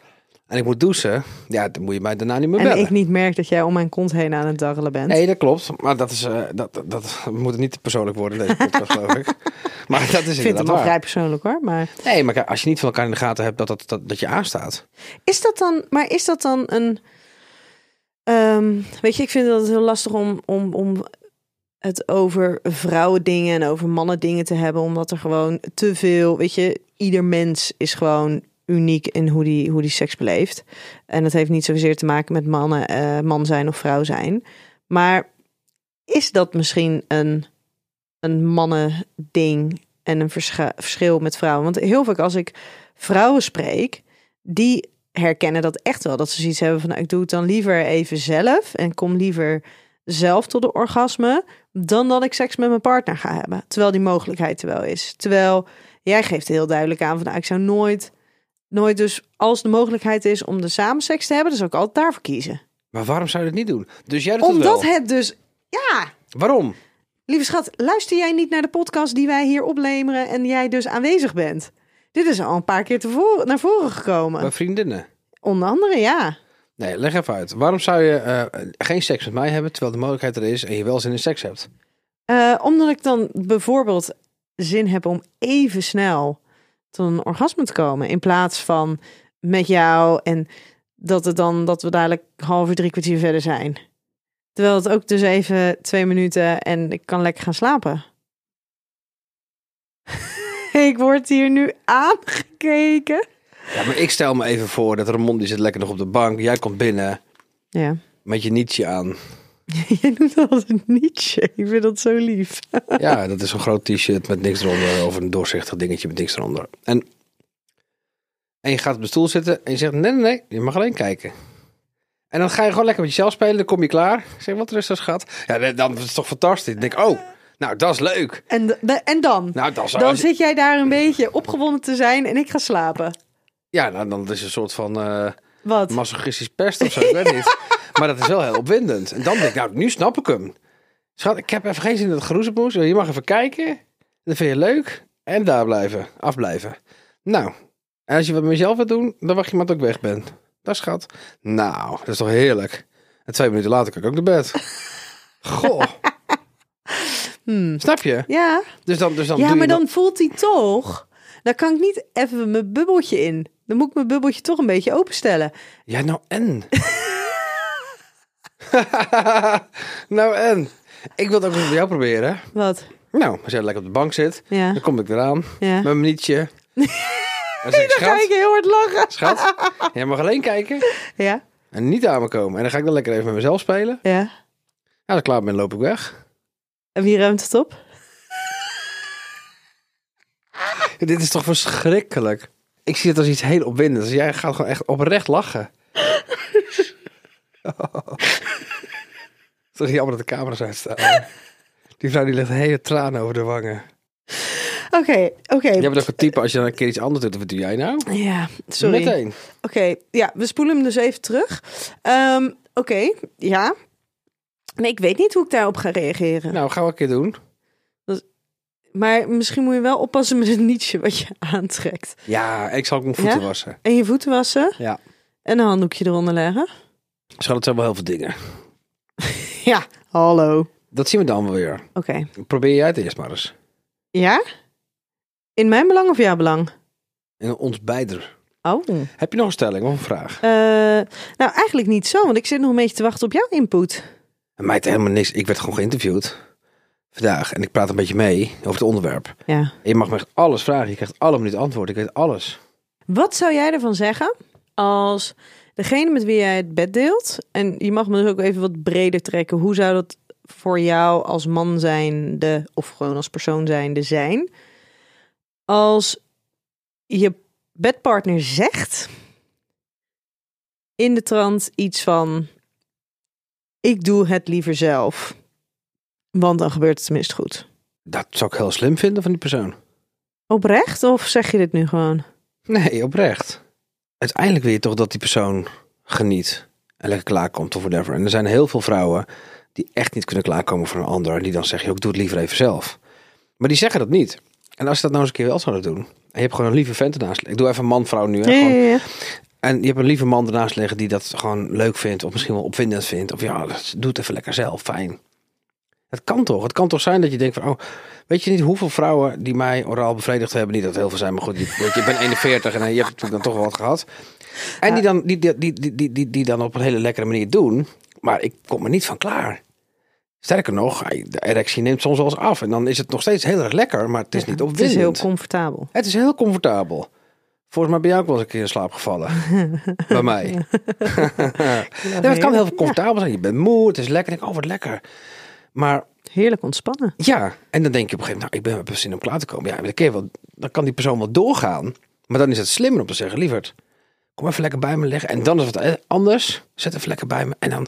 S4: en ik moet douchen, ja, dan moet je mij daarna niet meer
S2: en
S4: bellen.
S2: ik niet merk dat jij om mijn kont heen aan het darrelen bent.
S4: Nee, dat klopt. Maar dat is, eh, dat, dat, dat moet niet te persoonlijk worden, deze podcast, geloof ik. Maar dat is
S2: ik vind het
S4: inderdaad
S2: wel
S4: waar.
S2: vrij persoonlijk hoor. Maar
S4: Nee, maar kijk, als je niet van elkaar in de gaten hebt dat, dat, dat, dat je aanstaat.
S2: is dat dan, maar is dat dan een. ehm, weet je, ik vind het heel lastig om, om, om het over vrouwen dingen en over mannen dingen te hebben. Omdat er gewoon te veel. Weet je, ieder mens is gewoon uniek in hoe die, hoe die seks beleeft. En dat heeft niet zozeer te maken met mannen, eh, man zijn of vrouw zijn. Maar is dat misschien een, een mannen-ding en een verscha- verschil met vrouwen? Want heel vaak als ik vrouwen spreek, die herkennen dat echt wel. Dat ze zoiets hebben van, nou, ik doe het dan liever even zelf en kom liever zelf tot de orgasme, dan dat ik seks met mijn partner ga hebben. Terwijl die mogelijkheid er wel is. Terwijl jij geeft heel duidelijk aan van, nou, ik zou nooit, nooit dus als de mogelijkheid is om de samenseks te hebben, dan zou ik altijd daarvoor kiezen.
S4: Maar waarom zou je dat niet doen? Dus jij doet
S2: Omdat
S4: het wel.
S2: het dus, ja,
S4: Waarom?
S2: Lieve schat, luister jij niet naar de podcast die wij hier opleveren en jij dus aanwezig bent? Dit is al een paar keer tevoren, naar voren gekomen.
S4: Bij vriendinnen.
S2: Onder andere, ja.
S4: Nee, leg even uit. Waarom zou je eh, geen seks met mij hebben, terwijl de mogelijkheid er is en je wel zin in seks hebt?
S2: Eh, omdat ik dan bijvoorbeeld zin heb om even snel tot een orgasme te komen. In plaats van met jou en dat, het dan, dat we dadelijk half uur, drie kwartier verder zijn. Terwijl het ook dus even twee minuten en ik kan lekker gaan slapen. ik word hier nu aangekeken.
S4: Ja, maar ik stel me even voor dat Ramon die zit lekker nog op de bank. Jij komt binnen
S2: Ja.
S4: met je nietje aan.
S2: Jij noemt dat als een nietje. Ik vind dat zo lief.
S4: Ja, dat is een groot t-shirt met niks eronder. Of een doorzichtig dingetje met niks eronder. En, en je gaat op de stoel zitten en je zegt: nee, nee, nee, je mag alleen kijken. En dan ga je gewoon lekker met jezelf spelen. Dan kom je klaar. Ik zeg: wat rustig, schat. Ja, nee, dan is het toch fantastisch. Ik denk: oh, nou, dat is leuk.
S2: En, d- da- en dan?
S4: Nou, dat is.
S2: Dan
S4: als je-
S2: zit jij daar een beetje opgewonden te zijn en ik ga slapen.
S4: ja, nou, dan is het een soort van eh
S2: Wat?
S4: masochistisch pest of zo. Ik weet niet. Maar dat is wel heel opwindend. En dan denk ik: nou, nu snap ik hem. Schat, ik heb even geen zin in dat geroezemoes. Je mag even kijken. Dat vind je leuk. En daar blijven. Afblijven. Nou, en als je wat met jezelf wilt doen, dan wacht je maar tot ik weg ben. Dat schat. Nou, dat is toch heerlijk. En twee minuten later kan ik ook naar bed. Goh.
S2: Hmm.
S4: Snap je?
S2: Ja,
S4: Dus dan, dus dan doe
S2: ja
S4: je
S2: maar
S4: dat-
S2: dan voelt hij toch... Dan kan ik niet even mijn bubbeltje in.
S4: nou
S2: Dan moet ik mijn bubbeltje toch een beetje openstellen.
S4: Ja, nou en? nou en? Ik wil het ook eens met jou proberen.
S2: Wat?
S4: Nou, als jij lekker op de bank zit,
S2: Ja.
S4: dan kom ik eraan.
S2: Ja.
S4: Met mijn nietje. Dan zeg ik,
S2: Dan ga ik
S4: schat,
S2: heel hard lachen.
S4: schat, jij mag alleen kijken
S2: Ja,
S4: en niet aan me komen. En dan ga ik dan lekker even met mezelf spelen.
S2: ja.
S4: Ja, als ik klaar ben, loop ik weg.
S2: En wie ruimt het op?
S4: Dit is toch verschrikkelijk? Ik zie het als iets heel opwindends. Dus Jij gaat gewoon echt oprecht lachen. Het is toch jammer dat de camera's uitstaan. Die vrouw die legt hele tranen over de wangen.
S2: Oké, oké.
S4: Jij bent ook een type, als je dan een keer iets anders doet, wat doe jij nou?
S2: Ja, sorry.
S4: Meteen.
S2: Oké, ja, we spoelen hem dus even terug. Ehm, Oké, ja. Nee, ik weet niet hoe ik daarop ga reageren.
S4: Nou, gaan we een keer doen.
S2: Maar misschien moet je wel oppassen met het nietje wat je aantrekt.
S4: Ja, ik zal ook mijn voeten
S2: Ja?
S4: wassen.
S2: En je voeten wassen.
S4: Ja.
S2: En een handdoekje eronder leggen.
S4: Schat, het zijn wel heel veel dingen.
S2: Ja, hallo. Oké.
S4: Dat zien we dan wel weer. Probeer jij het eerst maar eens.
S2: Ja? In mijn belang of jouw belang?
S4: En ons beider.
S2: Oh.
S4: Heb je nog een stelling of een vraag?
S2: nou, eigenlijk niet zo, want ik zit nog een beetje te wachten op jouw input.
S4: En mij het helemaal niks. Ik werd gewoon geïnterviewd vandaag. En ik praat een beetje mee over het onderwerp.
S2: Ja.
S4: En je mag me echt alles vragen. Je krijgt alle minuten antwoord. Ik weet alles.
S2: Wat zou jij ervan zeggen als degene met wie jij het bed deelt, en je mag me dus ook even wat breder trekken, hoe zou dat voor jou als man zijnde, of gewoon als persoon zijnde zijn, als je bedpartner zegt in de trant iets van, ik doe het liever zelf, want dan gebeurt het tenminste goed.
S4: Dat zou ik heel slim vinden van die persoon.
S2: Oprecht of zeg je dit nu gewoon?
S4: Nee, oprecht. Uiteindelijk wil je toch dat die persoon geniet. En lekker klaarkomt of whatever. En er zijn heel veel vrouwen die echt niet kunnen klaarkomen voor een ander. En die dan zeggen, "Joh, ik doe het liever even zelf. Maar die zeggen dat niet. En als ze dat nou eens een keer wel zouden doen. En je hebt gewoon een lieve vent ernaast. liggen. Ik doe even man-vrouw nu. Hè, gewoon.
S2: ja.
S4: En je hebt een lieve man ernaast liggen die dat gewoon leuk vindt. Of misschien wel opwindend vindt. Of ja, dat doet even lekker zelf. Fijn. Het kan toch? Het kan toch zijn dat je denkt van... Oh, weet je niet hoeveel vrouwen die mij oraal bevredigd hebben? Niet dat het heel veel zijn, maar goed. Je, weet je, ik ben 41 en eh, je hebt natuurlijk dan toch wel wat gehad. En die dan, die, die, die, die, die, die, die dan op een hele lekkere manier doen. Maar ik kom er niet van klaar. Sterker nog, de erectie neemt soms wel eens af. En dan is het nog steeds heel erg lekker, maar het is niet
S2: Het is heel
S4: opwindend.
S2: comfortabel.
S4: Het is heel comfortabel. Volgens mij ben jij ook wel eens een keer in slaap gevallen. Bij mij. nee, maar het kan heel comfortabel zijn. Je bent moe, het is lekker. Ik denk, oh wat lekker. Maar
S2: Heerlijk ontspannen.
S4: ja, en dan denk je op een gegeven moment... Nou, ik ben wel zin om klaar te komen. Ja, maar dan, kun je wel, dan kan die persoon wel doorgaan. Maar dan is het slimmer om te zeggen... Lieverd, kom even lekker bij me liggen. En dan is het eh, anders. Zet even lekker bij me. En dan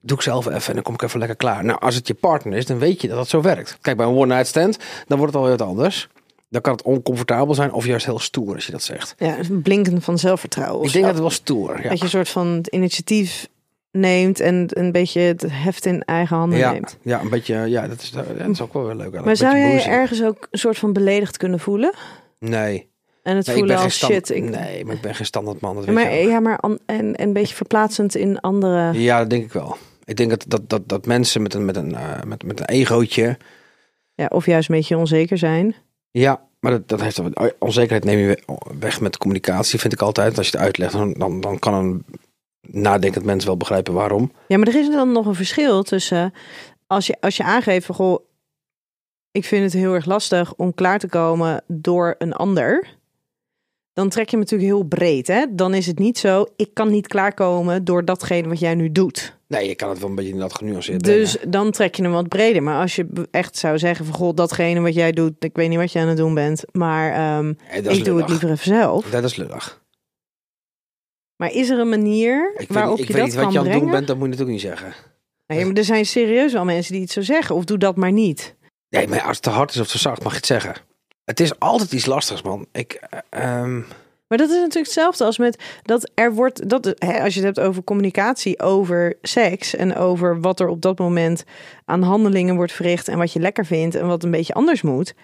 S4: doe ik zelf even. En dan kom ik even lekker klaar. Nou, als het je partner is, dan weet je dat dat zo werkt. Kijk, bij een one-night stand, dan wordt het alweer wat anders. Dan kan het oncomfortabel zijn of juist heel stoer als je dat zegt.
S2: Ja, blinken van zelfvertrouwen. of
S4: Ik denk
S2: zo.
S4: dat het wel stoer. Ja.
S2: Dat je een soort van het initiatief neemt en een beetje het heft in eigen handen
S4: ja,
S2: neemt.
S4: ja, een beetje. Ja, dat is, ja, dat is ook wel weer leuk. eigenlijk.
S2: Maar
S4: Een
S2: zou
S4: beetje
S2: jij je
S4: boezem.
S2: ergens ook een soort van beledigd kunnen voelen?
S4: Nee.
S2: En het
S4: nee
S2: voelen
S4: geen
S2: als
S4: standaard-
S2: shit. Ik,
S4: Nee, maar ik ben geen standaard man. Dat weet
S2: maar
S4: je wel.
S2: ja, maar an- en, en een beetje verplaatsend in andere.
S4: ja, dat denk ik wel. Ik denk dat, dat, dat, dat mensen met een, met, een, eh, met, met een egootje.
S2: Ja, of juist een beetje onzeker zijn.
S4: Ja, maar dat, dat heeft onzekerheid neem je we- weg met communicatie, vind ik altijd. Als je het uitlegt, dan, dan, dan kan een nadenkend mens wel begrijpen waarom.
S2: Ja, maar er is dan nog een verschil tussen als je, als je aangeeft van goh, ik vind het heel erg lastig om klaar te komen door een ander. Dan trek je hem natuurlijk heel breed. Hè? Dan is het niet zo, ik kan niet klaarkomen door datgene wat jij nu doet.
S4: Nee, je kan het wel een beetje inderdaad genuanceerd
S2: Dus
S4: brengen.
S2: dan trek je hem wat breder. Maar als je echt zou zeggen van goh, datgene wat jij doet, ik weet niet wat je aan het doen bent, maar ehm,
S4: Nee, dat is
S2: ik doe het
S4: lullig.
S2: liever even zelf.
S4: Dat is lullig.
S2: Maar is er een manier
S4: Ik weet,
S2: waarop
S4: niet- ik
S2: je
S4: weet
S2: dat
S4: niet
S2: kan
S4: wat je aan het
S2: brengen?
S4: doen bent, dat moet je natuurlijk niet zeggen.
S2: Nee, maar er zijn serieus wel mensen die het zo zeggen. Of doe dat maar niet.
S4: Nee, maar als het te hard is of te zacht, mag je het zeggen. Het is altijd iets lastigs, man. Ik, eh, ehm,
S2: Maar dat is natuurlijk hetzelfde als met dat er wordt, dat, hè, als je het hebt over communicatie, over seks en over wat er op dat moment aan handelingen wordt verricht en wat je lekker vindt en wat een beetje anders moet.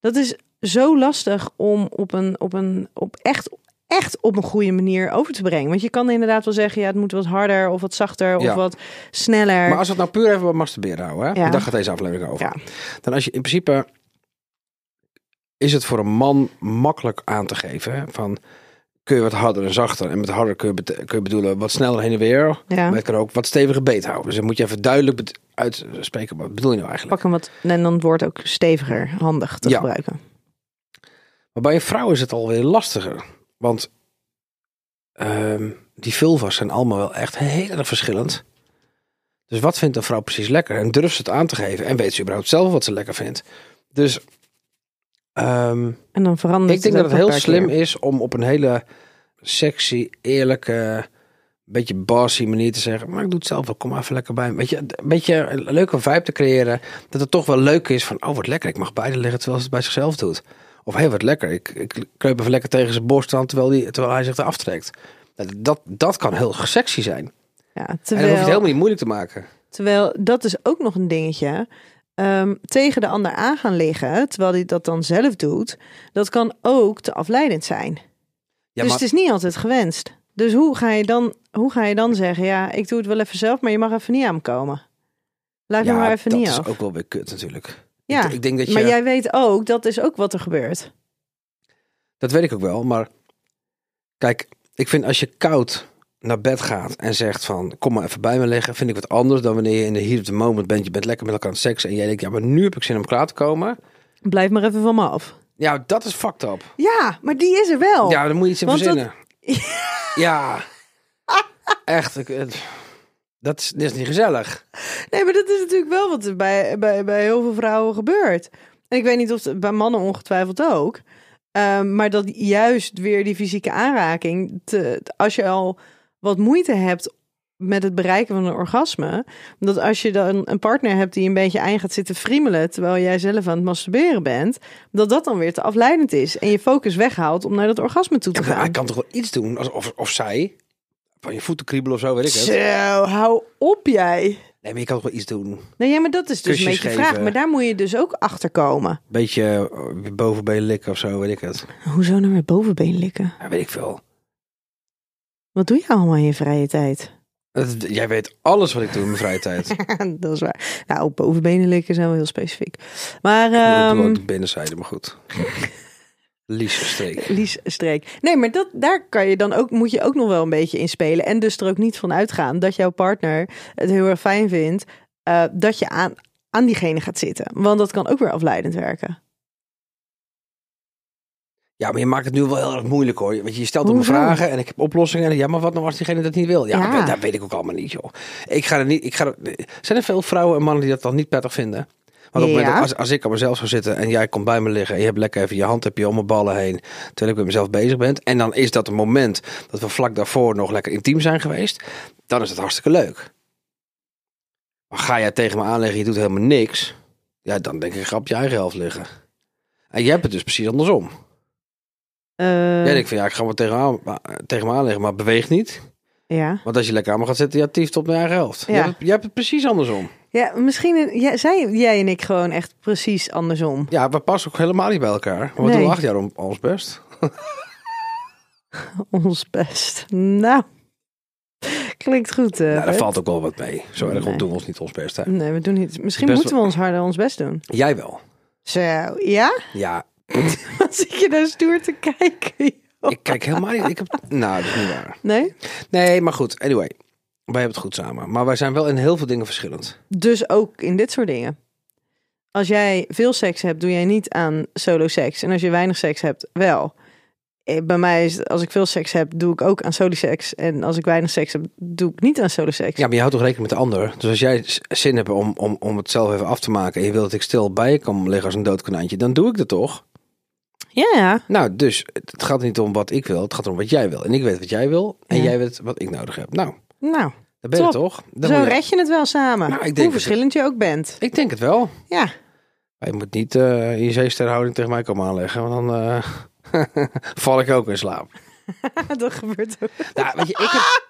S2: Dat is zo lastig om op een, op een, op echt, echt op een goede manier over te brengen. Want je kan inderdaad wel zeggen, ja, het moet wat harder of wat zachter of
S4: Ja.
S2: wat sneller.
S4: maar als we het nou puur even wat masturberen houden, hè?
S2: Ja.
S4: want daar gaat deze aflevering over.
S2: Ja.
S4: Dan als je in principe is het voor een man makkelijk aan te geven hè, van kun je wat harder en zachter. En met harder kun je, bete- kun je bedoelen wat sneller heen en weer.
S2: Ja.
S4: Maar het kan ook wat steviger beet houden. Dus dan moet je even duidelijk bet- uitspreken. Wat bedoel je nou eigenlijk?
S2: Pak hem wat en dan wordt ook steviger, handig te
S4: Ja.
S2: gebruiken.
S4: Maar bij een vrouw is het alweer lastiger. Want ehm, die vulva's zijn allemaal wel echt heel erg verschillend. Dus wat vindt een vrouw precies lekker? En durft ze het aan te geven? En weet ze überhaupt zelf wat ze lekker vindt? Dus ehm,
S2: En dan verandert
S4: ik denk
S2: het
S4: dat
S2: ook
S4: het heel
S2: een paar
S4: slim
S2: keer.
S4: is om op een hele sexy, eerlijke, beetje bossy manier te zeggen... maar ik doe het zelf wel, kom maar even lekker bij me. Weet je, een beetje een leuke vibe te creëren. Dat het toch wel leuk is van, oh wat lekker, ik mag beide liggen terwijl ze het bij zichzelf doet. Of hé, hey, wat lekker, ik, ik kreup even lekker tegen zijn borst aan terwijl, die, terwijl hij zich eraf trekt. Nou, Dat, dat kan heel sexy zijn.
S2: Ja,
S4: En dan hoef je
S2: terwijl,
S4: het helemaal niet moeilijk te maken.
S2: terwijl dat is ook nog een dingetje. Ehm, tegen de ander aan gaan liggen, terwijl hij dat dan zelf doet, dat kan ook te afleidend zijn.
S4: Ja,
S2: dus
S4: maar,
S2: het is niet altijd gewenst. Dus hoe ga, je dan, hoe ga je dan zeggen, ja, ik doe het wel even zelf, maar je mag even niet aankomen. Laat
S4: ja,
S2: me maar even
S4: dat
S2: niet
S4: is
S2: af.
S4: ook wel weer kut natuurlijk.
S2: Ja,
S4: ik, ik denk dat je...
S2: Maar jij weet ook, dat is ook wat er gebeurt.
S4: Dat weet ik ook wel, maar kijk, ik vind als je koud naar bed gaat en zegt van kom maar even bij me liggen, vind ik wat anders dan wanneer je in de heat of the moment bent, je bent lekker met elkaar aan het seks en jij denkt ja, maar nu heb ik zin om klaar te komen.
S2: Blijf maar even van me af.
S4: Ja, dat is fucked up.
S2: Ja, maar die is er wel.
S4: Ja, daar moet je iets in
S2: Oh. want dat-
S4: verzinnen. Ja. Echt, ik- het- dat is, dit is niet gezellig.
S2: Nee, maar dat is natuurlijk wel wat er bij, bij, bij heel veel vrouwen gebeurt. En ik weet niet of het bij mannen ongetwijfeld ook. Ehm, maar dat juist weer die fysieke aanraking, te, als je al wat moeite hebt met het bereiken van een orgasme, dat als je dan een partner hebt die een beetje aan je gaat zitten friemelen terwijl jij zelf aan het masturberen bent, dat dat dan weer te afleidend is en je focus weghaalt om naar dat orgasme toe
S4: Ja,
S2: te
S4: maar hij
S2: gaan.
S4: kan toch wel iets doen, als, of, of zij, van je voeten kriebelen of zo, weet ik
S2: Zo,
S4: het.
S2: hou op jij.
S4: Nee, maar je kan toch wel iets doen.
S2: Nee, ja, maar dat is dus
S4: Kusjes
S2: een beetje
S4: geven.
S2: vraag. Maar daar moet je dus ook achter komen.
S4: Beetje eh, bovenbeen likken of zo, weet ik het.
S2: Hoezo nou met bovenbeen likken?
S4: Ja, weet ik veel.
S2: Wat doe je allemaal in je vrije tijd?
S4: Het- jij weet alles wat ik doe in mijn vrije tijd. Ik
S2: dat is waar. Nou, bovenbenen likken zijn wel heel specifiek. Maar,
S4: bedoel,
S2: ehm,
S4: ook de binnenzijde, maar goed. Liesesteek.
S2: Lies Streek. Nee, maar dat, daar kan je dan ook, moet je ook nog wel een beetje in spelen. En dus er ook niet van uitgaan dat jouw partner het heel erg fijn vindt eh, dat je aan, aan diegene gaat zitten. Want dat kan ook weer afleidend werken.
S4: Ja, maar je maakt het nu wel heel erg moeilijk hoor. Want je stelt me
S2: Hoezo?
S4: vragen en ik heb oplossingen. En ja, maar wat nou als diegene dat niet wil? Ja,
S2: Ja.
S4: Dat, weet, dat weet ik ook allemaal niet, joh. Ik ga er niet. Ik ga er, zijn er veel vrouwen en mannen die dat dan niet prettig vinden? Want op het moment
S2: Ja.
S4: dat als, als ik aan mezelf zou zitten en jij komt bij me liggen en je hebt lekker even je hand heb je om mijn ballen heen, terwijl ik met mezelf bezig ben, en dan is dat een moment dat we vlak daarvoor nog lekker intiem zijn geweest, dan is het hartstikke leuk. Maar ga jij tegen me aanleggen, je doet helemaal niks, ja, dan denk ik grap je eigen helft liggen. En jij hebt het dus precies andersom.
S2: Eh,
S4: Jij denkt van ja, ik ga maar tegen, me aan- maar- tegen me aanleggen, maar beweeg niet.
S2: ja.
S4: Want als je lekker aan me gaat zitten, ja, tieft op mijn eigen helft.
S2: Ja.
S4: Jij, hebt, het- jij hebt het precies andersom.
S2: ja, misschien ja, zijn jij en ik gewoon echt precies andersom.
S4: Ja, we passen ook helemaal niet bij elkaar. We
S2: Nee.
S4: doen acht jaar om, ons best.
S2: Ons best. Nou, klinkt goed. eh,
S4: Nou, daar
S2: Bert.
S4: valt ook wel wat mee. Zo erg
S2: Nee.
S4: doen we ons niet ons best. Hè?
S2: Nee, we doen niet. Misschien
S4: Best
S2: moeten we ons harder ons best doen.
S4: Jij wel.
S2: Zo, ja?
S4: Ja,
S2: Wat zit je nou stoer te kijken? joh?
S4: ik kijk helemaal niet. Ik heb, nou, dat is niet waar.
S2: Nee?
S4: Nee, maar goed. Anyway, wij hebben het goed samen. Maar wij zijn wel in heel veel dingen verschillend.
S2: Dus ook in dit soort dingen. Als jij veel seks hebt, doe jij niet aan solo seks. En als je weinig seks hebt, wel. Eh, Bij mij is het, als ik veel seks heb, doe ik ook aan solo seks. En als ik weinig seks heb, doe ik niet aan solo seks.
S4: Ja, maar je houdt toch rekening met de ander. Dus als jij s- zin hebt om, om, om het zelf even af te maken... en je wilt dat ik stil bij je kan liggen als een dood konijntje... dan doe ik dat toch?
S2: ja. ja.
S4: Nou, dus het het gaat niet om wat ik wil, het gaat om wat jij wil. En ik weet wat jij wil en
S2: Ja.
S4: jij weet wat ik nodig heb. Nou,
S2: Nou,
S4: daar ben je
S2: Top.
S4: toch? Dan
S2: zo
S4: moet je-
S2: red je het wel samen.
S4: Nou, ik denk
S2: Hoe
S4: dat-
S2: verschillend je ook bent.
S4: Ik denk het wel.
S2: Ja.
S4: Maar Je moet niet eh je zeesterhouding tegen mij komen aanleggen, want dan eh, val ik ook in slaap.
S2: dat gebeurt ook.
S4: Nou, weet je, ik heb...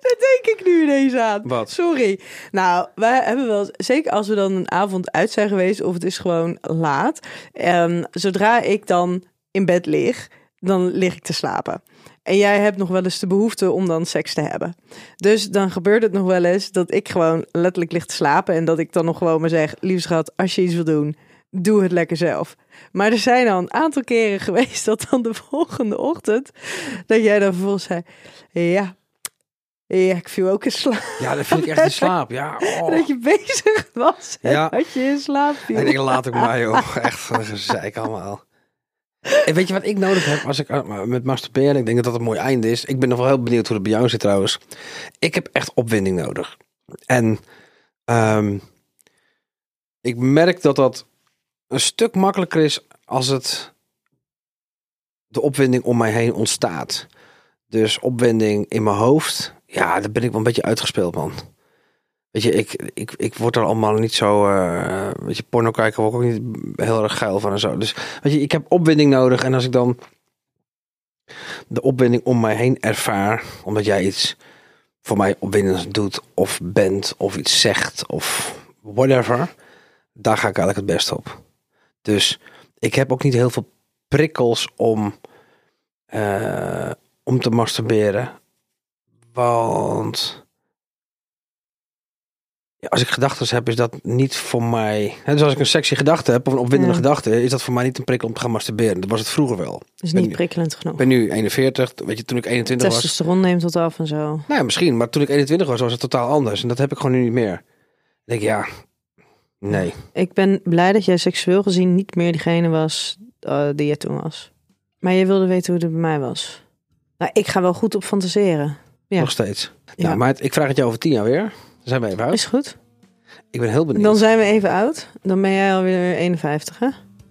S2: Dat denk ik nu ineens aan.
S4: Wat?
S2: Sorry. Nou, wij hebben wel... Zeker als we dan een avond uit zijn geweest... of het is gewoon laat. ehm, zodra ik dan in bed lig, dan lig ik te slapen. En jij hebt nog wel eens de behoefte om dan seks te hebben. Dus dan gebeurt het nog wel eens dat ik gewoon letterlijk lig te slapen... en dat ik dan nog gewoon maar zeg... lieve schat, als je iets wil doen... doe het lekker zelf. Maar er zijn al een aantal keren geweest dat dan de volgende ochtend, dat jij dan vervolgens zei, ja, ja ik viel ook in slaap.
S4: Ja, dat vind ik echt in slaap. Ja, oh.
S2: Dat je bezig was en
S4: Ja.
S2: dat je in slaap
S4: En
S2: viel.
S4: ik laat ook maar, joh. Echt van een gezeik allemaal. En weet je wat ik nodig heb als ik eh, met masturberen? Ik denk dat dat een mooi einde is. Ik ben nog wel heel benieuwd hoe het bij jou zit trouwens. Ik heb echt opwinding nodig. En ehm, ik merk dat dat een stuk makkelijker is als het de opwinding om mij heen ontstaat. Dus opwinding in mijn hoofd. Ja, daar ben ik wel een beetje uitgespeeld, man. Weet je, ik, ik, ik word er allemaal niet zo. eh, weet je, porno kijken word ik ook niet heel erg geil van en zo. Dus weet je, ik heb opwinding nodig. En als ik dan de opwinding om mij heen ervaar, omdat jij iets voor mij opwindends doet, of bent, of iets zegt, of whatever, daar ga ik eigenlijk het best op. Dus ik heb ook niet heel veel prikkels om, eh, om te masturberen. Want ja, als ik gedachten heb, is dat niet voor mij. Hè, dus als ik een sexy gedachte heb of een opwindende
S2: Ja.
S4: gedachte, is dat voor mij niet een prikkel om te gaan masturberen. Dat was het vroeger wel.
S2: Dus
S4: niet
S2: niet prikkelend genoeg.
S4: Ik ben nu 41, weet je, toen ik 21 was.
S2: Testosteron neemt wat af en zo.
S4: Nou ja, misschien, maar toen ik 21 was, was het totaal anders. En dat heb ik gewoon nu niet meer. Ik denk, ja, nee.
S2: Ik ben blij dat jij seksueel gezien niet meer diegene was eh, die je toen was. Maar je wilde weten hoe het bij mij was. Nou, ik ga wel goed op fantaseren. Ja.
S4: Nog steeds.
S2: Ja.
S4: Nou, maar het- ik vraag het jou over tien jaar weer. Dan zijn we even uit.
S2: Is goed.
S4: Ik ben heel benieuwd.
S2: Dan zijn we even oud. Dan ben jij alweer 51, hè?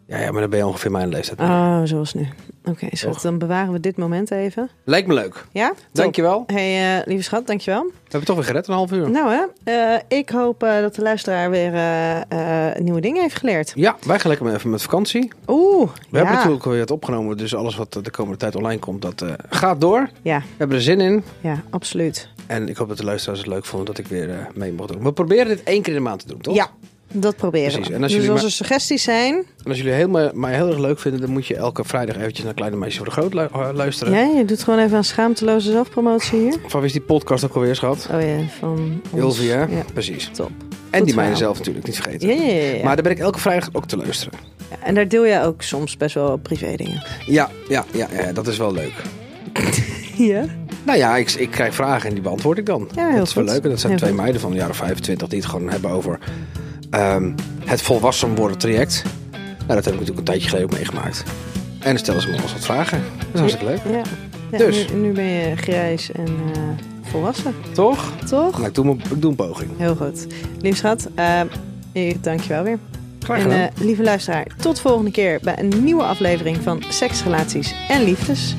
S4: Ja, ja, maar dan ben je ongeveer mijn leeftijd.
S2: Oh, zoals nu. Oké, schat,
S4: Toch.
S2: dan bewaren we dit moment even.
S4: Lijkt me leuk.
S2: Ja? Top.
S4: Dankjewel. We
S2: Hey, eh, lieve schat, dankjewel.
S4: hebben toch weer gered, een half uur.
S2: Nou, hè, eh, ik hoop eh, dat de luisteraar weer eh, eh, nieuwe dingen heeft geleerd.
S4: Ja, wij gaan lekker even met vakantie. We
S2: Oeh, ja.
S4: hebben natuurlijk weer het opgenomen, dus alles wat de komende tijd online komt, dat eh, gaat door.
S2: ja,
S4: We hebben er zin in.
S2: ja, absoluut.
S4: En ik hoop dat de luisteraars het leuk vonden dat ik weer eh, mee mocht doen. We proberen dit één keer in de maand te doen, toch?
S2: Ja, dat proberen
S4: Precies,
S2: we.
S4: en als
S2: dus
S4: jullie
S2: als
S4: maar-
S2: er suggesties zijn...
S4: En als jullie heel, mij heel erg leuk vinden, dan moet je elke vrijdag eventjes naar Kleine Meisjes voor de Groot lu- eh, luisteren.
S2: Ja, je doet gewoon even een schaamteloze zelfpromotie hier.
S4: Van wie is die podcast ook alweer, schat?
S2: Oh ja, van ons.
S4: Ilvia,
S2: Ja,
S4: precies.
S2: top.
S4: En die
S2: verhaal.
S4: mijne zelf natuurlijk, niet vergeten.
S2: Ja, ja, ja, ja.
S4: Maar daar ben ik elke vrijdag ook te luisteren.
S2: En daar deel jij ook soms best wel privé dingen.
S4: Ja, ja, ja, ja dat is wel leuk.
S2: Ja.
S4: Nou ja, ik, ik krijg vragen en die beantwoord ik dan.
S2: Ja, heel
S4: dat is wel
S2: goed.
S4: leuk. En dat zijn
S2: Heel
S4: twee
S2: goed.
S4: meiden van de jaren 25 die het gewoon hebben over ehm, het volwassen worden traject. Nou, dat heb ik natuurlijk een tijdje geleden ook meegemaakt. En dan stellen ze me wel eens wat vragen. Dat is hartstikke leuk.
S2: ja. Ja,
S4: Dus.
S2: Nu, nu ben je grijs en eh, volwassen,
S4: Toch?
S2: toch?
S4: Nou, ik doe, mijn- ik doe een poging.
S2: Heel goed. Lief schat, eh, ik dank je wel weer.
S4: Graag
S2: En
S4: gedaan.
S2: eh, lieve luisteraar, tot volgende keer bij een nieuwe aflevering van Seks, Relaties en Liefdes.